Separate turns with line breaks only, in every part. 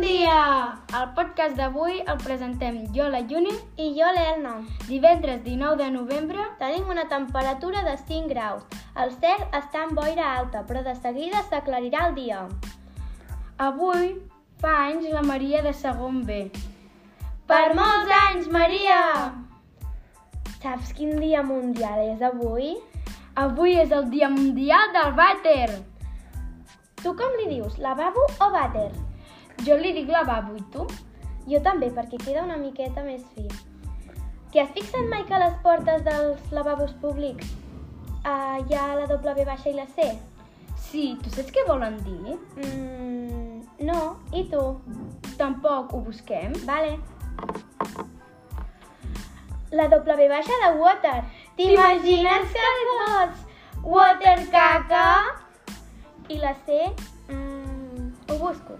dia! El podcast d'avui el presentem jo, la Juni,
I jo, l'Elna.
divendres 19 de novembre.
Tenim una temperatura de 5 graus. El cel està amb boira alta, però de seguida s'aclarirà el dia.
Avui fa anys la Maria de segon B.
Per molts anys, Maria! Saps quin dia mundial és avui?
Avui és el Dia Mundial del Vàter.
Tu com li dius, lavabo o vàter?
Jo li dic lavabo i tu?
Jo també, perquè queda una miqueta més fi. T'hi has fixat mai que a les portes dels lavabos públics uh, hi ha la W baixa i la C?
Sí, tu saps què volen dir?
Mm, no, i tu?
Tampoc ho busquem.
Vale. La W baixa de water. T'imagines que pots? Water caca. I la C? Mm, ho busco.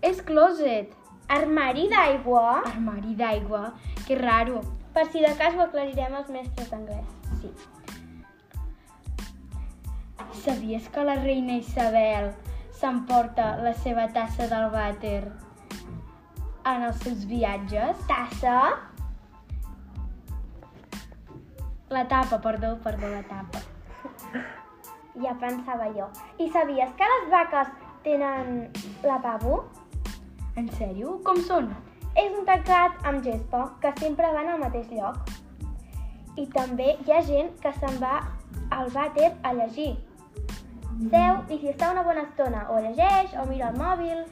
És closet.
Armari d'aigua.
Armari d'aigua. Que raro.
Per si de cas ho aclarirem als mestres d'anglès.
Sí. Sabies que la reina Isabel s'emporta la seva tassa del vàter en els seus viatges?
Tassa.
La tapa, perdó, perdó, la tapa.
Ja pensava jo. I sabies que les vaques tenen lavabo?
En sèrio? Com són?
És un teclat amb gespa que sempre van al mateix lloc. I també hi ha gent que se'n va al vàter a llegir. Seu i s'hi està una bona estona, o llegeix, o mira el mòbil...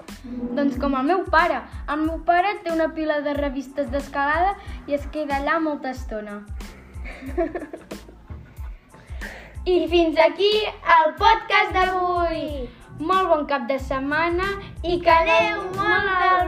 Doncs com el meu pare. El meu pare té una pila de revistes d'escalada i es queda allà molta estona. I fins aquí el podcast d'avui. Molt bon cap de setmana i que aneu molt al